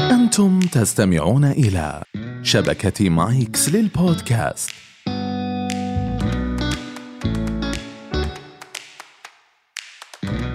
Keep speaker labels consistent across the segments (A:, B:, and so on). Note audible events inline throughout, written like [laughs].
A: أنتم تستمعون إلى شبكة مايكس للبودكاست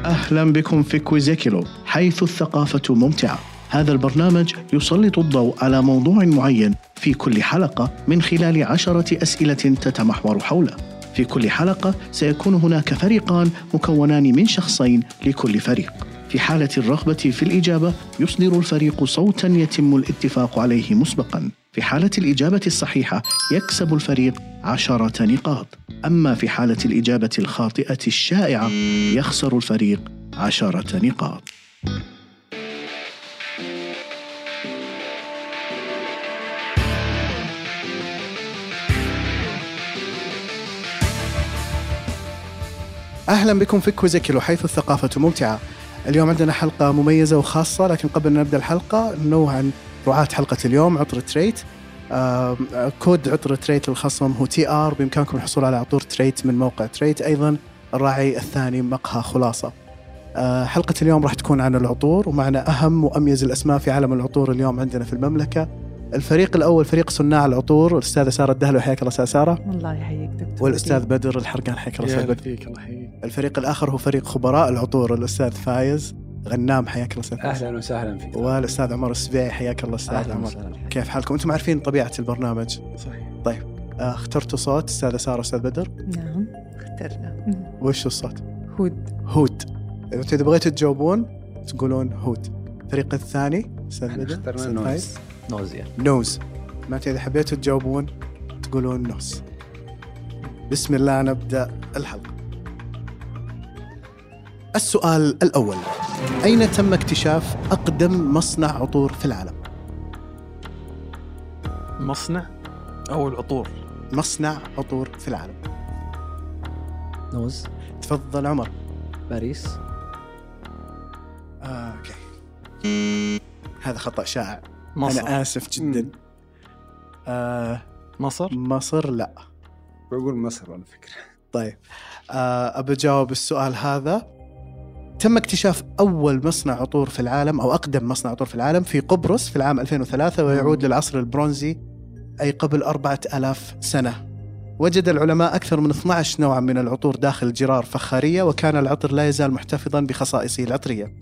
B: أهلا بكم في كويزيكيلو حيث الثقافة ممتعة هذا البرنامج يسلط الضوء على موضوع معين في كل حلقة من خلال عشرة أسئلة تتمحور حوله في كل حلقة سيكون هناك فريقان مكونان من شخصين لكل فريق في حالة الرغبة في الإجابة يصدر الفريق صوتا يتم الاتفاق عليه مسبقا في حالة الإجابة الصحيحة يكسب الفريق عشرة نقاط أما في حالة الإجابة الخاطئة الشائعة يخسر الفريق عشرة نقاط
C: اهلا بكم في كوزيكيلو حيث الثقافه ممتعه. اليوم عندنا حلقه مميزه وخاصه لكن قبل ان نبدا الحلقه ننوه عن رعاة حلقه اليوم عطر تريت. آم، آه، كود عطر تريت للخصم هو تي ار بامكانكم الحصول على عطور تريت من موقع تريت ايضا الراعي الثاني مقهى خلاصه. آه، حلقة اليوم راح تكون عن العطور ومعنا أهم وأميز الأسماء في عالم العطور اليوم عندنا في المملكة الفريق الأول فريق صناع العطور الأستاذة سارة الدهلو حياك الله أستاذة سارة
D: الله يحييك دكتور
C: والأستاذ بدر الحرقان حياك الله أستاذ بدر
E: فيك الله يحييك
C: الفريق الآخر هو فريق خبراء العطور الأستاذ فايز غنام حياك الله أستاذ فايز
E: اهلا وسهلا فيك
C: والأستاذ عمر السبيعي حياك الله أستاذ
E: اهلا
C: عمر
E: وسهلا
C: كيف حالكم؟ أنتم عارفين طبيعة البرنامج
E: صحيح
C: آه، اخترتوا صوت أستاذة سارة أستاذ بدر
D: بدر. نعم اخترنا
C: وش الصوت؟
D: هود
C: هود أنتوا إذا بغيتوا تجاوبون تقولون هود الفريق الثاني أستاذ
E: احنا
C: بدر
E: اخترنا
C: أستاذ فايز.
E: نوز نوزيا
C: نوز معناته إذا حبيتوا تجاوبون تقولون نوز بسم الله نبدأ الحلقة السؤال الأول أين تم اكتشاف أقدم مصنع عطور في العالم؟
F: مصنع او العطور
C: مصنع عطور في العالم
G: نوز
C: تفضل عمر
G: باريس
C: آه، أوكي هذا خطأ شائع
F: مصر
C: أنا آسف جدا آه،
F: مصر
C: مصر لا
E: بقول مصر على فكره
C: طيب آه، أبى أجاوب السؤال هذا تم اكتشاف أول مصنع عطور في العالم أو أقدم مصنع عطور في العالم في قبرص في العام 2003 ويعود للعصر البرونزي أي قبل 4000 سنة وجد العلماء أكثر من 12 نوعا من العطور داخل جرار فخارية وكان العطر لا يزال محتفظا بخصائصه العطرية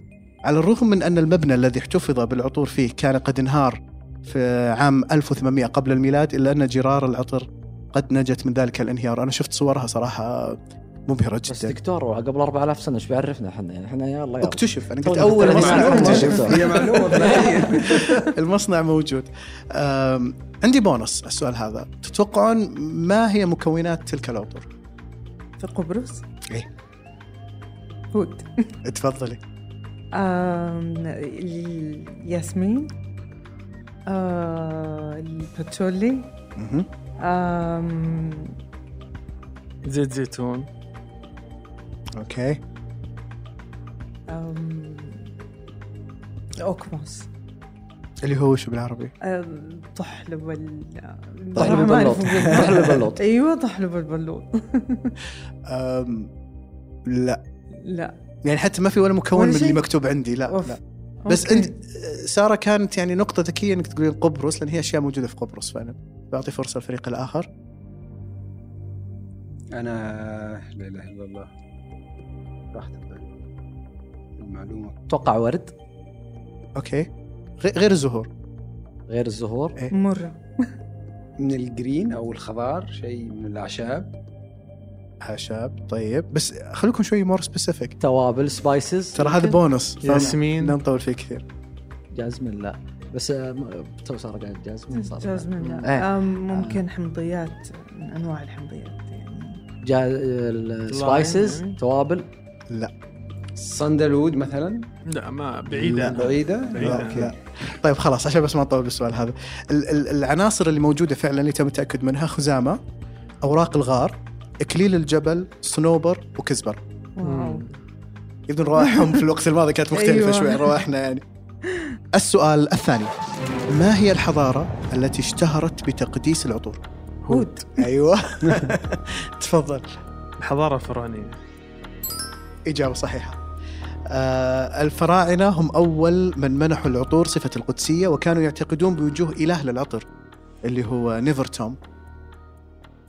C: على الرغم من أن المبنى الذي احتفظ بالعطور فيه كان قد انهار في عام 1800 قبل الميلاد إلا أن جرار العطر قد نجت من ذلك الانهيار أنا شفت صورها صراحة مبهرة
G: بس
C: جدا
G: دكتور قبل 4000 سنه ايش بيعرفنا احنا يعني احنا يا الله يا رب.
C: اكتشف انا قلت
G: طيب،
C: اول
G: طيب،
C: مصنع
G: معلومة.
C: اكتشف
E: [laughs] هي معلومه ذاتية.
C: [laughs] المصنع موجود أم، عندي بونص على السؤال هذا تتوقعون ما هي مكونات تلك العطور
D: في قبرص
C: إيه.
D: هود [laughs]
C: تفضلي
D: آم، الياسمين آه، الباتشولي
C: مهم.
D: آم،
F: زيت زيتون
C: اوكي
D: آم، اوكموس
C: اللي هو شو بالعربي
D: آم، آه، طحلب وال
G: طحلب
D: ما أعرف
G: البلوط طحلب
D: [laughs]
G: البلوط
D: ايوه طحلب البلوط
C: أم، لا
D: لا
C: يعني حتى ما في ولا مكون
D: ولا
C: من اللي
D: شيء.
C: مكتوب عندي لا
D: أوف.
C: لا بس
D: أوكي.
C: انت ساره كانت يعني نقطه ذكيه انك تقولين قبرص لان هي اشياء موجوده في قبرص فعلا بعطي فرصه الفريق الاخر
E: انا لا اله الا الله راحت البال. المعلومه
G: اتوقع ورد
C: اوكي غ- غير الزهور
G: غير الزهور
D: مره
E: من الجرين او الخضار شيء من الاعشاب
C: اعشاب طيب بس خليكم شوي مور سبيسيفيك
G: توابل سبايسز
C: ترى هذا بونص فما-
F: ياسمين.
C: لا نطول فيه كثير
G: جازمين لا بس آه، م- تو صار قاعد جازمين صار
D: جازمين
G: إيه.
D: لا آم، ممكن حمضيات من انواع الحمضيات يعني
G: جا السبايسز
F: لايم.
G: توابل
E: صندلود مثلا
F: لا ما بعيدة
C: لا.
F: أنا.
E: بعيده
F: بعيدة.
C: لا، لا. طيب خلاص عشان بس ما نطول بالسؤال هذا ال- ال- العناصر اللي موجوده فعلا اللي تم التاكد منها خزامه اوراق الغار اكليل الجبل صنوبر وكزبر
D: واو
C: يبدو إن روائحهم في الوقت الماضي كانت مختلفه
D: أيوة.
C: شوي عن روائحنا يعني السؤال الثاني ما هي الحضاره التي اشتهرت بتقديس العطور
D: هود
C: ايوه [laughs] تفضل
F: الحضارة الفرعونية
C: اجابه صحيحه آه، الفراعنة هم أول من منحوا العطور صفة القدسية وكانوا يعتقدون بوجوه إله للعطر اللي هو نيفرتوم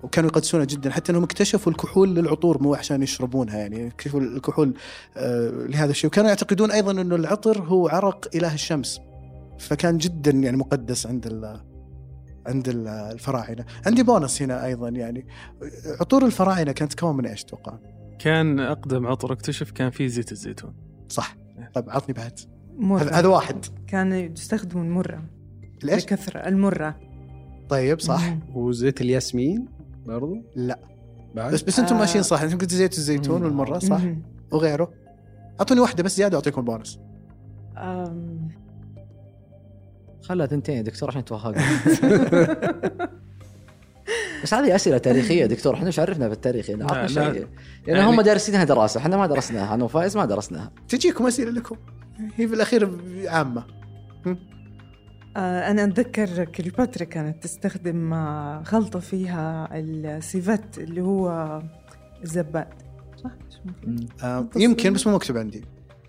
C: وكانوا يقدسونه جدا حتى انهم اكتشفوا الكحول للعطور مو عشان يشربونها يعني اكتشفوا الكحول آه لهذا الشيء وكانوا يعتقدون ايضا انه العطر هو عرق اله الشمس فكان جدا يعني مقدس عند ال عند ال- الفراعنه عندي بونص هنا ايضا يعني عطور الفراعنه كانت تتكون من ايش توقع
F: كان اقدم عطر اكتشف كان فيه زيت الزيتون
C: صح طيب عطني بعد هذا
D: مرة
C: هذا واحد
D: كانوا يستخدموا المرة
C: ليش
D: بكثرة المرة
C: طيب صح
D: مم.
E: وزيت الياسمين برضو
C: لا.
E: بعد
C: بس بس انتم
D: آه.
C: ماشيين صح انتم قلت زيت الزيتون
F: مم.
C: والمره صح
D: مم.
C: وغيره اعطوني واحده بس زياده اعطيكم بونص
D: آم،
G: خلها تنتين يا دكتور عشان توهق
C: [laughs]
G: بس هذه اسئله تاريخيه يا دكتور احنا ايش عرفنا في التاريخ يعني
F: لا،
G: عرفنا
F: لا.
G: شيء يعني
F: يعني-
G: هم دارسينها دراسه احنا ما درسناها انا وفائز ما درسناها
C: تجيكم اسئله لكم هي في الاخير عامه
D: آه، أنا أتذكر كليوباترا كانت تستخدم آه، خلطة فيها السيفت اللي هو الزباد صح؟ اسمه كده؟
C: آه يمكن بس مو مكتوب عندي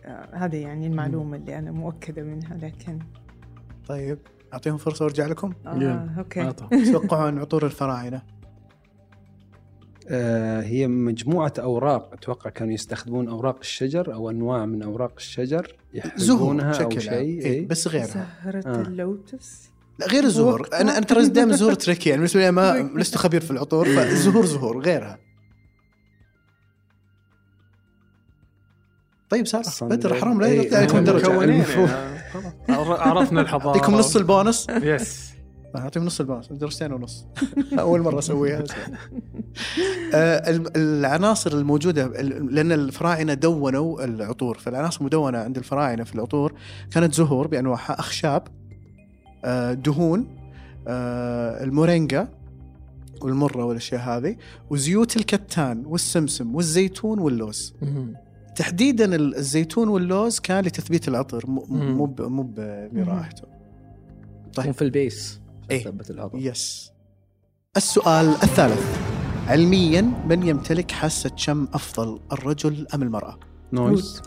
D: آه، هذه يعني المعلومة اللي أنا مؤكدة منها لكن
C: طيب اعطيهم فرصه وارجع
D: [laughs]
C: لكم
D: آه
F: يلا.
D: أوكي
F: عطا.
C: تتوقعون عطور الفراعنه
E: آه هي مجموعة أوراق أتوقع كانوا يستخدمون أوراق الشجر أو أنواع من أوراق الشجر
C: زهور
E: يحلبونها أو
C: بشكل عام
E: شيء
C: إيه،
E: إيه؟
C: بس غيرها
D: زهرة
E: آه.
D: اللوتس
C: لا غير الزهور
D: وقتها.
C: انا انا ترى دائما زهور تركي يعني بالنسبه لي ما لست خبير في العطور فالزهور زهور غيرها طيب ساره بدر حرام لا يقطع عليكم
E: إيه،
C: درجه
E: مكونين.
F: مكونين
C: المفروض
F: يعني. خلاص. عر- عرفنا الحضاره
C: اعطيكم نص البونص
F: يس
C: اعطيهم آه، نص الباص درجتين ونص [laughs] اول مره اسويها [laughs] آه، الم- العناصر الموجوده ال- لان الفراعنه دونوا العطور فالعناصر المدونه عند الفراعنه في العطور كانت زهور بانواعها اخشاب آه، دهون آه، المورينجا والمره والاشياء هذه وزيوت الكتان والسمسم والزيتون واللوز
F: مم.
C: تحديدا ال- الزيتون واللوز كان لتثبيت العطر م- م-
F: مم.
C: مو ب- مو ب- برائحته طيب.
G: هم في البيس عشان
C: إيه.
G: تثبت العضل
C: يس السؤال الثالث علميا من يمتلك حاسة شم أفضل الرجل أم المرأة؟
E: نويز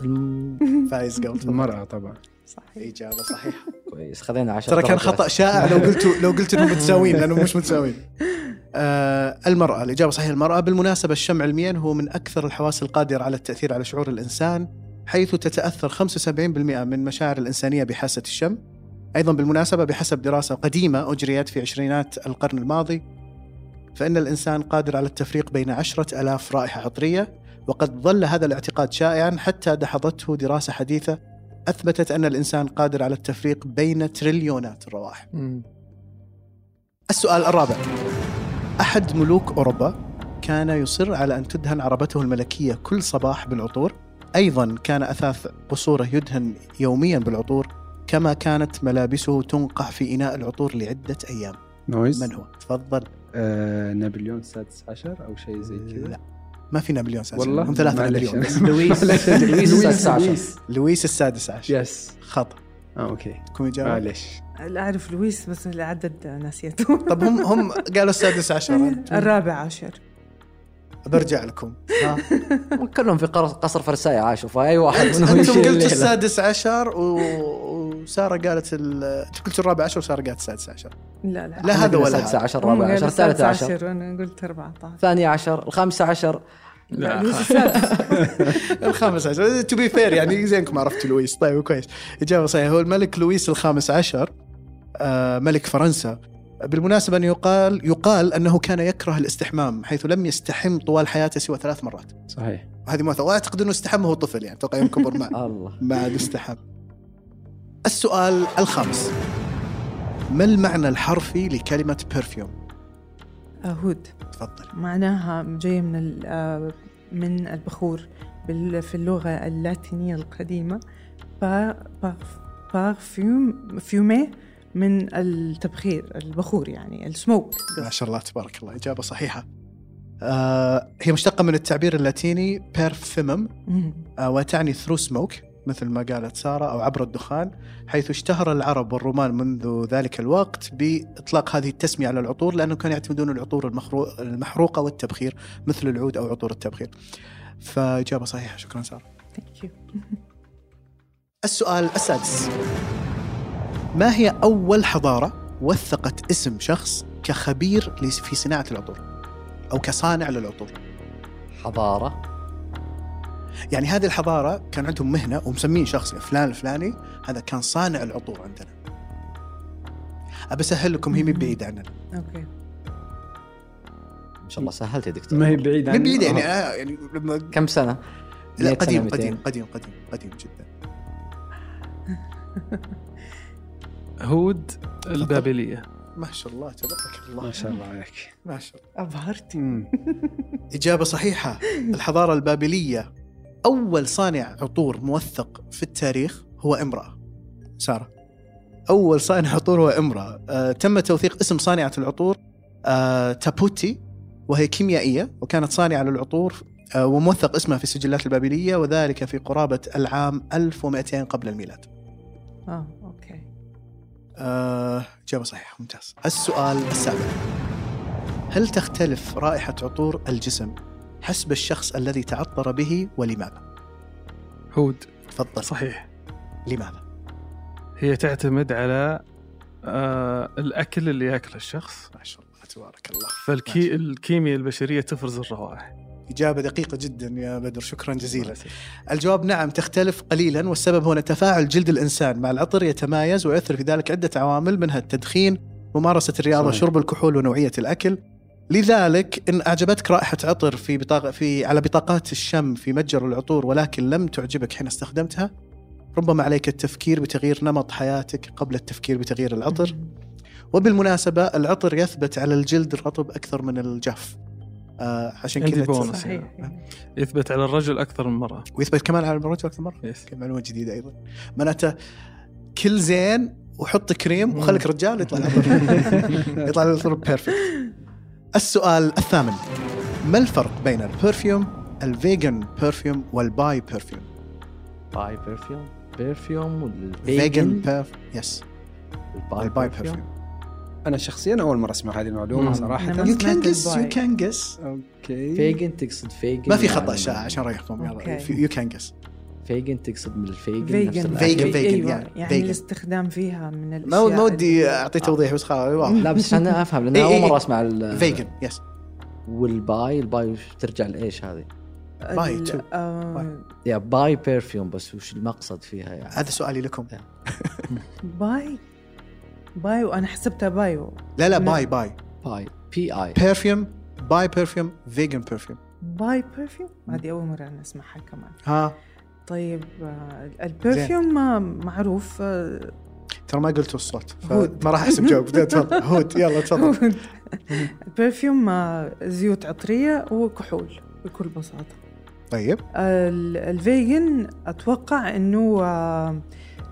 C: فايز
E: [laughs]
C: قبل
E: المرأة طبعا
D: صحيح
C: إجابة صحيحة
G: كويس خذينا 10
C: ترى كان
G: درجات.
C: خطأ شائع لو قلتوا لو قلتوا إنهم متساويين لأنهم مش متساويين آه المرأة الإجابة صحيحة المرأة بالمناسبة الشم علميا هو من أكثر الحواس القادرة على التأثير على شعور الإنسان حيث تتأثر 75% من مشاعر الإنسانية بحاسة الشم أيضا بالمناسبة بحسب دراسة قديمة أجريت في عشرينات القرن الماضي فإن الإنسان قادر على التفريق بين عشرة ألاف رائحة عطرية وقد ظل هذا الاعتقاد شائعا حتى دحضته دراسة حديثة أثبتت أن الإنسان قادر على التفريق بين تريليونات الروائح
F: مم.
C: السؤال الرابع أحد ملوك أوروبا كان يصر على أن تدهن عربته الملكية كل صباح بالعطور أيضا كان أثاث قصوره يدهن يوميا بالعطور كما كانت ملابسه تنقع في إناء العطور لعدة أيام
E: نويز
C: من هو؟ تفضل
E: آه نابليون السادس عشر أو شيء زي كذا
C: لا ما في نابليون ساسا
E: والله
C: هم ثلاثة
E: معلش. [laughs]
C: نابليون
G: لويس لويس السادس عشر
E: لويس.
C: لويس السادس عشر
E: يس
C: خطأ
E: اه اوكي
C: كم يجاوب
E: معلش
D: لا أعرف لويس بس العدد ناسيته
C: طب هم هم قالوا السادس
D: [laughs]
C: عشر أنتم-
D: الرابع عشر
C: برجع لكم ها
G: كلهم في قر- قصر فرساي عاشوا فاي واحد منهم
C: انتم
G: يشيل
C: إيه، قلتوا
G: الليلة.
C: السادس عشر و... وساره قالت ال... انتم قلتوا الرابع عشر وساره قالت السادس عشر
D: لا لا
C: لا هذا ولا
G: السادس
C: هذا
G: عشر
D: هم
G: الرابع
D: قالوا
G: عشر الثالث
D: 16
G: عشر
D: وأنا قلت 14
G: الثاني عشر الخامس عشر
F: لا
D: لويس
F: خلاص.
D: السادس
C: الخامس عشر [laughs] تو بي فير يعني زينكم عرفتوا لويس طيب كويس اجابه صحيحه هو الملك لويس الخامس عشر آه ملك فرنسا بالمناسبة أنه يقال يقال أنه كان يكره الاستحمام حيث لم يستحم طوال حياته سوى ثلاث مرات
E: صحيح
C: هذه مؤثرة وأعتقد أنه استحم وهو طفل يعني أتوقع يوم كبر ما [laughs]
G: الله
C: ما عاد استحم السؤال الخامس ما المعنى الحرفي لكلمة برفيوم؟
D: آه، هود
C: تفضل
D: معناها جاية من ال- آه، من البخور بال- في اللغة اللاتينية القديمة با- با- بارفيوم فيومي من التبخير البخور يعني السموك
C: ما شاء الله تبارك الله إجابة صحيحة آه هي مشتقة من التعبير اللاتيني perfumum آه وتعني through smoke مثل ما قالت سارة أو عبر الدخان حيث اشتهر العرب والرومان منذ ذلك الوقت بإطلاق هذه التسمية على العطور لأنهم كانوا يعتمدون العطور المخرو- المحروقة والتبخير مثل العود أو عطور التبخير فإجابة صحيحة شكرا سارة
D: ثانك يو
C: السؤال السادس ما هي أول حضارة وثقت اسم شخص كخبير لس- في صناعة العطور أو كصانع للعطور
G: حضاره
C: يعني هذه الحضارة كان عندهم مهنة ومسمين شخص فلان الفلاني هذا كان صانع العطور عندنا أبسهل لكم هي من بعيدة عننا
D: اوكي
G: ما شاء الله سهلت يا دكتور
E: ما هي بعيد عن
C: من بعيدة يعني أنا يعني لما
G: كم سنه؟
C: لا
G: مئة سنة،
C: قديم
G: 200.
C: قديم قديم قديم قديم جدا
F: هود البابليه
C: ما شاء الله تبارك الله
E: ما شاء الله عليك
C: ما شاء الله
D: ابهرتي
C: إجابة صحيحة الحضارة البابلية أول صانع عطور موثق في التاريخ هو امرأة سارة أول صانع عطور هو امرأة آه تم توثيق اسم صانعة العطور آه تابوتي وهي كيميائية وكانت صانعة للعطور آه وموثق اسمها في السجلات البابلية وذلك في قرابة العام 1200 قبل الميلاد
D: اه اوكي
C: آه، إجابة صحيحة ممتاز السؤال السابع هل تختلف رائحة عطور الجسم حسب الشخص الذي تعطر به ولماذا؟
F: هود
C: تفضل
F: صحيح
C: لماذا؟
F: هي تعتمد على آه الاكل اللي ياكله الشخص
C: ما شاء الله تبارك الله
F: فالكي الكيمياء البشريه تفرز الروائح
C: إجابة دقيقة جدا يا بدر شكرا جزيلا
F: الله
C: الجواب نعم تختلف قليلا والسبب هو أن تفاعل جلد الإنسان مع العطر يتمايز ويؤثر في ذلك عدة عوامل منها التدخين ممارسة الرياضة
E: صحيح.
C: شرب الكحول ونوعية الأكل لذلك إن أعجبتك رائحة عطر في بطاقة في على بطاقات الشم في متجر العطور ولكن لم تعجبك حين استخدمتها ربما عليك التفكير بتغيير نمط حياتك قبل التفكير بتغيير العطر وبالمناسبة العطر يثبت على الجلد الرطب أكثر من الجاف آه عشان
F: عندي
C: كذا
F: بونص.
D: صحيح
F: يثبت على الرجل اكثر من مره
C: ويثبت كمان على البروتين أكثر مرة
F: يس
C: كان معلومه جديده ايضا معناته كل زين وحط كريم وخليك رجال يطلع العطر- [laughs] يطلع العطر بيرفكت السؤال الثامن ما الفرق بين البرفيوم الفيجن برفيوم والباي برفيوم
G: باي برفيوم برفيوم
C: فيجن
G: والفيجن
C: برف يس
G: الباي
C: الباي
G: برفيوم
C: برفيوم
E: انا شخصيا اول مره اسمع هذه المعلومه
F: مم.
E: صراحه
D: نعم.
C: يو
D: ما
C: كان
D: سمعت
C: جس يو
D: الباي.
C: كان جس
E: اوكي
G: فيجن تقصد فيجن
C: ما في خطا
G: يعني-
C: اشاعه عشان اريحكم يلا
D: أوكي.
C: يو كان جس
G: فيجن تقصد من الفيجن نفس
D: فيجن
C: فيجن،
G: الأكل.
C: فيجن،
D: أيوة،
C: يعني
D: يعني
C: فيجن.
D: الاستخدام فيها من
C: ما
D: الاشياء
C: ما ودي
D: اللي-
C: اعطي توضيح بس خلاص واضح
G: لا بس عشان افهم
C: [laughs]
G: لان
C: إي إي
G: اول
C: إي.
G: مره اسمع ال-
C: فيجن يس
G: والباي الباي وش ترجع لايش هذه؟
C: باي
D: ال-
C: تو.
D: آه،
C: باي.
G: يا باي برفيوم بس وش المقصد فيها يعني؟
C: هذا سؤالي لكم
D: باي بايو انا حسبتها بايو
C: لا لا
D: لا.
C: باي باي
G: باي بي اي
C: برفيوم باي برفيوم فيجن برفيوم
D: باي برفيوم هذه اول مره انا اسمعها كمان
C: ها
D: طيب آه، البرفيوم آه، معروف آه،
C: ترى ما قلتوا الصوت فما
D: هود.
C: راح احسب جواب
D: [laughs]
C: لا، تفضل هود يلا تفضل
D: البرفيوم آه، زيوت عطريه وكحول بكل بساطه
C: طيب
D: ال- الفيجن اتوقع انه آه،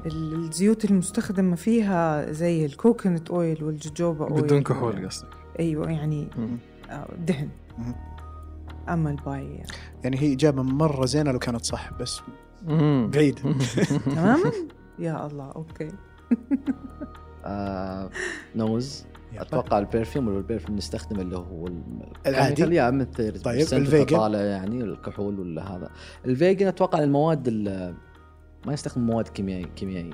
D: الزيوت المستخدمه فيها زي الكوكونات اويل والجوجوبا اويل
F: بدون كحول قصدك
D: ايوه يعني
F: مم.
D: آه، دهن
C: مم.
D: اما الباي
C: [laughs]
D: يعني.
C: يعني هي اجابه مره زينه لو كانت صح بس [laughs]
F: مم.
C: بعيد
D: تماما يا الله اوكي
G: آه نوز
C: يلا.
G: اتوقع البرفيوم والبرفيوم نستخدم اللي هو ال-
D: يعني
C: العادي.
G: chemical، يا مثل
C: طيب،
G: السنتة
C: الفيجن.
G: طالع يعني الكحول ولا هذا الفيجن اتوقع المواد ال- ما يستخدم مواد كيميائيه كيميائيه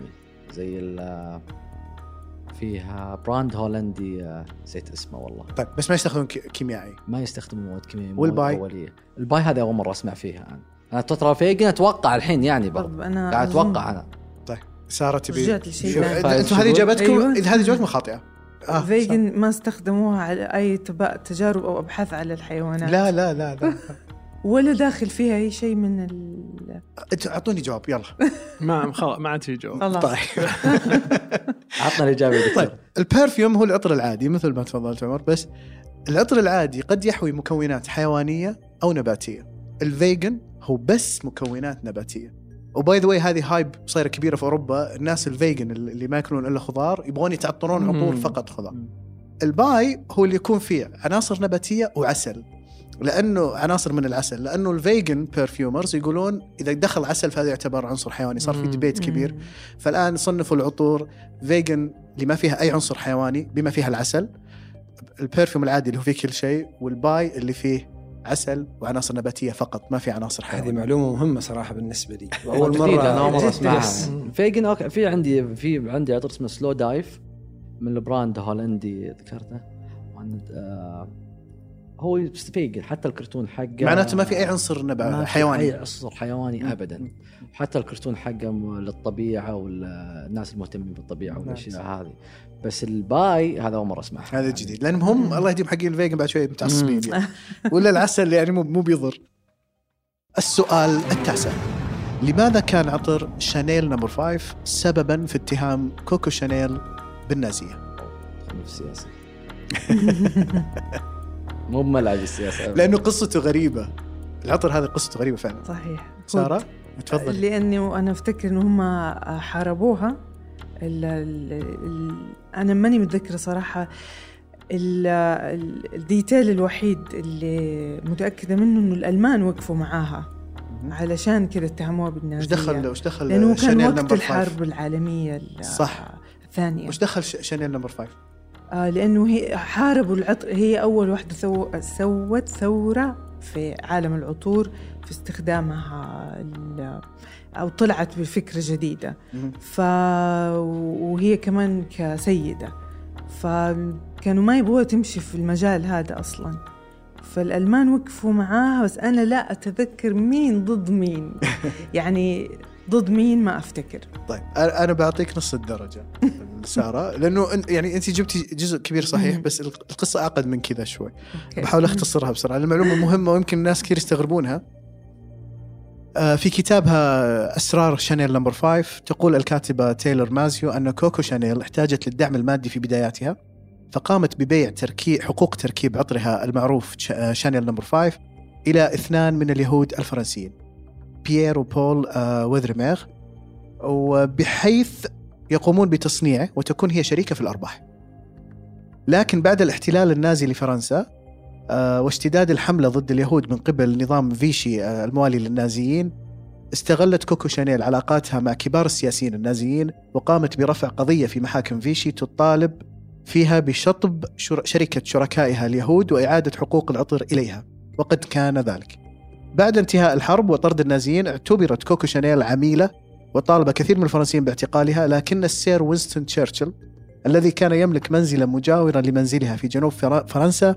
G: زي ال- فيها براند هولندي آه، نسيت اسمه والله
C: طيب بس ما يستخدمون كي- كيميائي
G: ما يستخدموا مواد كيميائيه مواد
C: والباي؟
G: اوليه الباي هذا اول مره اسمع فيها انا انا تترا فيجن اتوقع الحين يعني برضه
D: طب انا
G: قاعد
D: أظن
G: اتوقع انا
C: ساره تبي
D: رجعت لشيء
C: شوف،
D: ثاني.
C: إذا- انتم هذه اجابتكم
D: أيوة.
C: اذا هذه اجابتكم خاطئه آه،
D: فيجن ما استخدموها على اي تب- تجارب او ابحاث على الحيوانات
C: صح. لا لا لا لا [laughs]
D: ولا داخل فيها اي شيء من ال...
C: انتوا اعطوني جواب يلا
F: ما خلاص ما عاد في جواب
C: [laughs]
D: خلاص
C: طيب
G: عطنا الاجابه يا
C: طيب
G: دكتور
C: البرفيوم هو العطر العادي مثل ما تفضلت عمر بس العطر العادي قد يحوي مكونات حيوانيه او نباتيه الفيجن هو بس مكونات نباتيه وباي ذا واي هذه هايب صايره كبيره في اوروبا الناس الفيجن اللي ما ياكلون الا خضار يبغون يتعطرون عطور
F: مم.
C: فقط خضار الباي هو اللي يكون فيه عناصر نباتيه وعسل لانه عناصر من العسل لانه الفيجن برفيومرز يقولون اذا دخل عسل فهذا يعتبر عنصر حيواني صار في
F: مم.
C: ديبيت كبير
D: مم.
C: فالان صنفوا العطور فيجن اللي ما فيها اي عنصر حيواني بما فيها العسل البرفيوم العادي اللي هو فيه كل شيء والباي اللي فيه عسل وعناصر نباتيه فقط ما في عناصر
E: هذه
C: حيوانيه
E: معلومه مهمه صراحه بالنسبه لي
G: اول مره انا اول مره اسمعها
E: يس.
G: فيجن اوكي في عندي في عندي عطر اسمه سلو دايف من البراند هولندي ذكرته وعند- آه، هو بس فيجن حتى الكرتون حقه
C: معناته ما في اي عنصر
G: ما
C: نبع
G: في
C: حيواني
G: اي عنصر حيواني ابدا حتى الكرتون حقه م- للطبيعه والناس المهتمين بالطبيعه والاشياء هذه بس الباي هذا اول مره اسمعها
C: نعم. هذا جديد لانهم هم الله يهديهم حقين الفيجن بعد شوي متعصبين يعني. ولا العسل يعني مو مو بيضر السؤال التاسع لماذا كان عطر شانيل نمبر 5 سببا في اتهام كوكو شانيل بالنازيه؟
G: خلينا يعني في السياسه مو بملعب السياسه أبداً.
C: لانه قصته غريبه العطر هذا قصته غريبه فعلا
D: صحيح
C: ساره تفضل
D: لاني وانا افتكر ان هم حاربوها ال ال ال انا ماني متذكره صراحه ال- ال- الديتيل الوحيد اللي متاكده منه انه الالمان وقفوا معاها علشان كذا اتهموها
C: وش
D: بالنازيه
C: دخل وش دخل
D: لانه كان
C: شانيل
D: وقت
C: نمبر 5
D: الحرب العالميه ال-
C: صح.
D: الثانيه
C: وش دخل ش- شانيل نمبر 5
D: آه لانه هي حاربوا العطر هي اول واحده ثو... سوت ثوره في عالم العطور في استخدامها ال... او طلعت بفكره جديده
C: مهم.
D: ف وهي كمان كسيده فكانوا ما يبغوها تمشي في المجال هذا اصلا فالالمان وقفوا معاها بس انا لا اتذكر مين
C: [laughs]
D: ضد مين يعني ضد مين ما افتكر
C: طيب انا أنا بعطيك نص
D: [laughs]
C: الدرجه ساره لانه أن- يعني انت جبتي جزء كبير صحيح بس الق- القصه اعقد من كذا شوي
D: أوكي.
C: بحاول اختصرها بسرعه المعلومه مهمه ويمكن الناس كثير يستغربونها آه، في كتابها اسرار شانيل نمبر 5 تقول الكاتبه تايلر مازيو ان كوكو شانيل احتاجت للدعم المادي في بداياتها فقامت ببيع تركي حقوق تركيب عطرها المعروف ش- آه، شانيل نمبر 5 الى اثنان من اليهود الفرنسيين بيير وبول آه، وذرميغ وبحيث يقومون بتصنيعه وتكون هي شريكه في الارباح. لكن بعد الاحتلال النازي لفرنسا آه، واشتداد الحمله ضد اليهود من قبل نظام فيشي آه، الموالي للنازيين استغلت كوكو شانيل علاقاتها مع كبار السياسيين النازيين وقامت برفع قضيه في محاكم فيشي تطالب فيها بشطب شر- شركه شركائها اليهود واعاده حقوق العطر اليها وقد كان ذلك. بعد انتهاء الحرب وطرد النازيين اعتبرت كوكو شانيل عميله وطالب كثير من الفرنسيين باعتقالها لكن السير وينستون تشرشل الذي كان يملك منزلا مجاورا لمنزلها في جنوب فر- فرنسا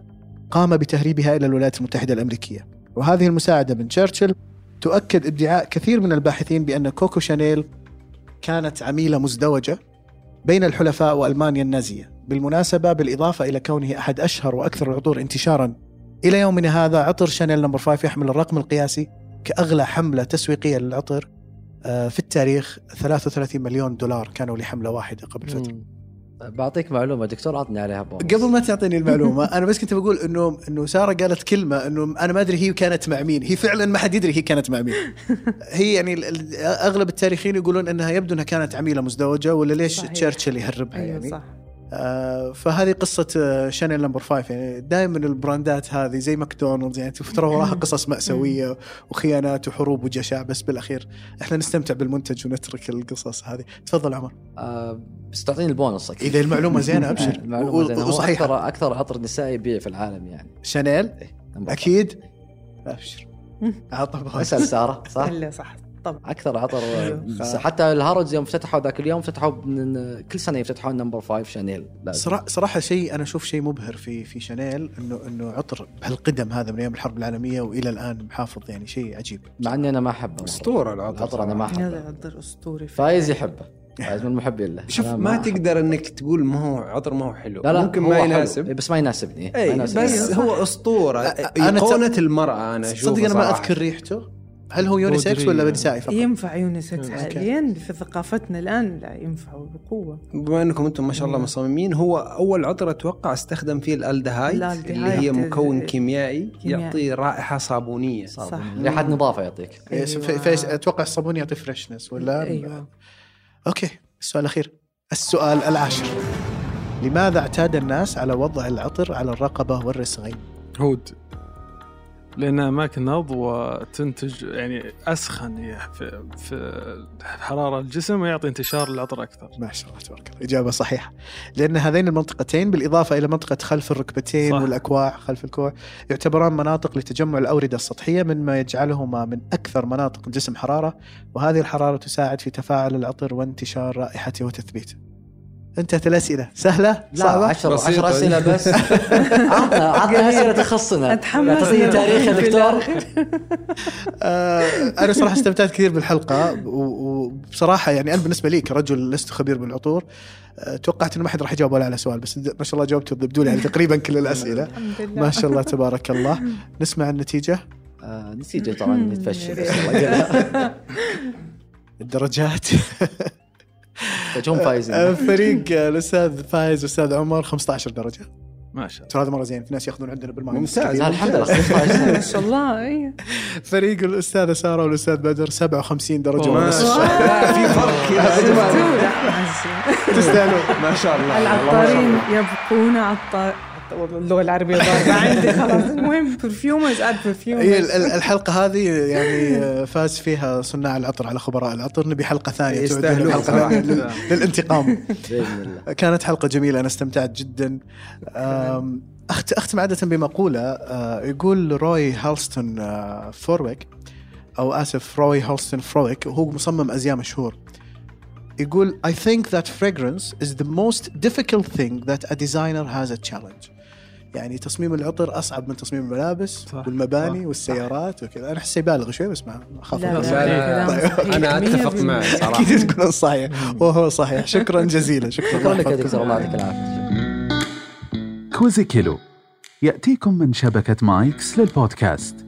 C: قام بتهريبها الى الولايات المتحده الامريكيه وهذه المساعده من تشرشل تؤكد ادعاء كثير من الباحثين بان كوكو شانيل كانت عميله مزدوجه بين الحلفاء والمانيا النازيه بالمناسبه بالاضافه الى كونه احد اشهر واكثر العطور انتشارا الى يومنا هذا عطر شانيل نمبر 5 يحمل الرقم القياسي كاغلى حمله تسويقيه للعطر آه، في التاريخ 33 مليون دولار كانوا لحمله واحده قبل فتره
G: مم. بعطيك معلومه دكتور عطني عليها بونص
C: قبل ما تعطيني المعلومه انا بس كنت بقول انه انه ساره قالت كلمه انه انا ما ادري هي كانت مع مين هي فعلا ما حد يدري هي كانت مع مين
D: [laughs]
C: هي يعني ال- ال- اغلب التاريخيين يقولون انها يبدو انها كانت عميله مزدوجه ولا ليش
D: صحيح.
C: تشرشل يهربها
D: ايوه
C: يعني
D: صح
C: آه فهذه قصه آه، شانيل نمبر 5 يعني دائما البراندات هذه زي ماكدونالدز يعني ترى
D: [laughs]
C: وراها قصص ماساويه وخيانات وحروب وجشع بس بالاخير احنا نستمتع بالمنتج ونترك القصص هذه تفضل عمر
G: آه بس تعطيني البونص اكيد
C: اذا المعلومه زينه
G: آه،
C: ابشر
G: [laughs] المعلومة
C: و-
G: زينة. هو
C: وصحيحه
G: اكثر اكثر عطر نسائي يبيع في العالم يعني
C: شانيل
G: نمبر
C: اكيد ابشر
D: [laughs]
C: عطى
G: واحد.
C: بغاز.
G: اسال
E: [laughs]
G: ساره صح؟
D: الا صح طبعا
G: اكثر عطر
D: أيوه.
G: بس حتى الهارودز يوم فتحوا ذاك اليوم فتحوا من- كل سنه يفتحون نمبر فايف شانيل لا،
C: صرا- صراحه شيء انا اشوف شيء مبهر في في شانيل انه انه عطر بهالقدم هذا من ايام الحرب العالميه والى الان محافظ يعني شيء عجيب
G: مع اني انا ما احبه
E: اسطوره العطر
G: العطر انا ما
D: هذا
G: احبه
D: عطر اسطوري فعلاً.
G: فايز يحبه فايز من محبين له
E: شوف
G: أنا
E: ما
G: أحبه.
E: تقدر انك تقول ما هو عطر ما هو حلو
G: لا لا
E: ممكن ما
G: هو حلو، إيه،
E: يناسب
G: بس ما يناسبني ما
E: اي
G: يناسبني.
E: بس هو اسطوره
C: أنا ت-
E: ايقونه المراه انا اشوفها
C: صدق انا ما
E: صراحة.
C: اذكر ريحته هل هو يونيسكس ولا
F: بودري.
C: نسائي فقط؟
D: ينفع
C: أوكي.
D: يونسكس حاليا في ثقافتنا الان لا ينفع بقوه
E: بما انكم انتم ما شاء الله مصممين هو اول عطر اتوقع استخدم فيه الالدهايد
D: الألدهايد
E: اللي هي مكون
D: ال-
E: كيميائي
D: كيميائي.
E: يعطي رائحه صابونيه
G: صعب.
D: صح.
G: ريحه نظافه يعطيك
C: إيه، ف- فيش- اتوقع الصابون يعطي فريشنس ولا
D: ايوه
C: اوكي السؤال الاخير السؤال العاشر لماذا اعتاد الناس على وضع العطر على الرقبه والرسغين؟
F: هود لانها اماكن نبض وتنتج يعني اسخن هي في, في حراره الجسم ويعطي انتشار للعطر اكثر
C: ما شاء الله تبارك الله إجابة صحيحة لأن هذين المنطقتين بالإضافة إلى منطقة خلف الركبتين
F: صح.
C: صح. والأكواع خلف الكوع يعتبران مناطق لتجمع الأوردة السطحية مما يجعلهما من أكثر مناطق الجسم حرارة وهذه الحرارة تساعد في تفاعل العطر وانتشار رائحته وتثبيته انتهت الأسئلة سهلة
G: لا
C: صعبة
G: 10
E: بسيطة.
G: 10 اسئله [laughs] بس عطنا عطنا اسئله تخصنا
D: اتحمس
G: تعطيني تاريخ يا
D: في [laughs]
G: دكتور [laughs]
D: الآخر.
C: آه، انا صراحه استمتعت كثير بالحلقه و- وبصراحه يعني انا بالنسبه لي كرجل لست خبير بالعطور آه، توقعت انه ما حد راح يجاوب ولا على سؤال بس ما شاء الله جاوبتوا تضبدوا لي على تقريبا كل الاسئله
D: الحمد
C: [laughs]
D: لله
C: ما شاء الله تبارك الله نسمع النتيجه
G: آه، نسيجه طبعا نتفشى بس [laughs]
C: الدرجات
G: فجهم فايزين
C: [laughs] فريق الاستاذ فايز استاذ عمر 15 درجه
F: ما شاء الله
C: ترى هذا مره زين في ناس ياخذون عندنا بالمعنى
E: ممتاز
G: لا، الحمد لله [laughs] 16.
D: ما شاء الله أيوة. اي
C: فريق الاستاذه ساره والاستاذ بدر 57 درجه
F: ما
C: ونص
F: شاء
E: لا، في
D: [laughs]
E: فرق يا جماعة.
C: تستاهلون
E: ما شاء الله
D: العطارين يبقون عطار اللغه العربيه ضاربه عندي خلاص المهم برفيومرز
C: هي
D: اد برفيومرز
C: إيه، ال- ال- الحلقة هذه يعني فاز فيها صناع العطر على خبراء العطر نبي حلقة ثانية تعود
E: يستاهلوا
C: للحلقة
E: صراحة.
C: لل- للانتقام
G: باذن الله
C: كانت حلقة جميلة أنا استمتعت جدا أم، أخت أختم عادة بمقولة أه، يقول روي هالستون أه، فورويك أو آسف روي هالستون فرويك وهو مصمم أزياء مشهور يقول I think that fragrance is the most difficult thing that a designer has a challenge يعني تصميم العطر أصعب من تصميم الملابس
F: صح،
C: والمباني
F: صح،
C: والسيارات وكذا أنا أحسه بالغ شوي بس ما ما أخاف
D: لا،
E: لا، لا،
D: كلام صحيح.
E: انا اتفق
D: 100%.
E: معك صراحه
C: أكيد تكون صحيح وهو صحيح شكرا جزيلا
G: شكرا
C: شكرا
G: لك يا
C: لحفظكم.
G: دكتور الله يعطيك العافيه
A: كوزيكيلو يأتيكم من شبكة مايكس للبودكاست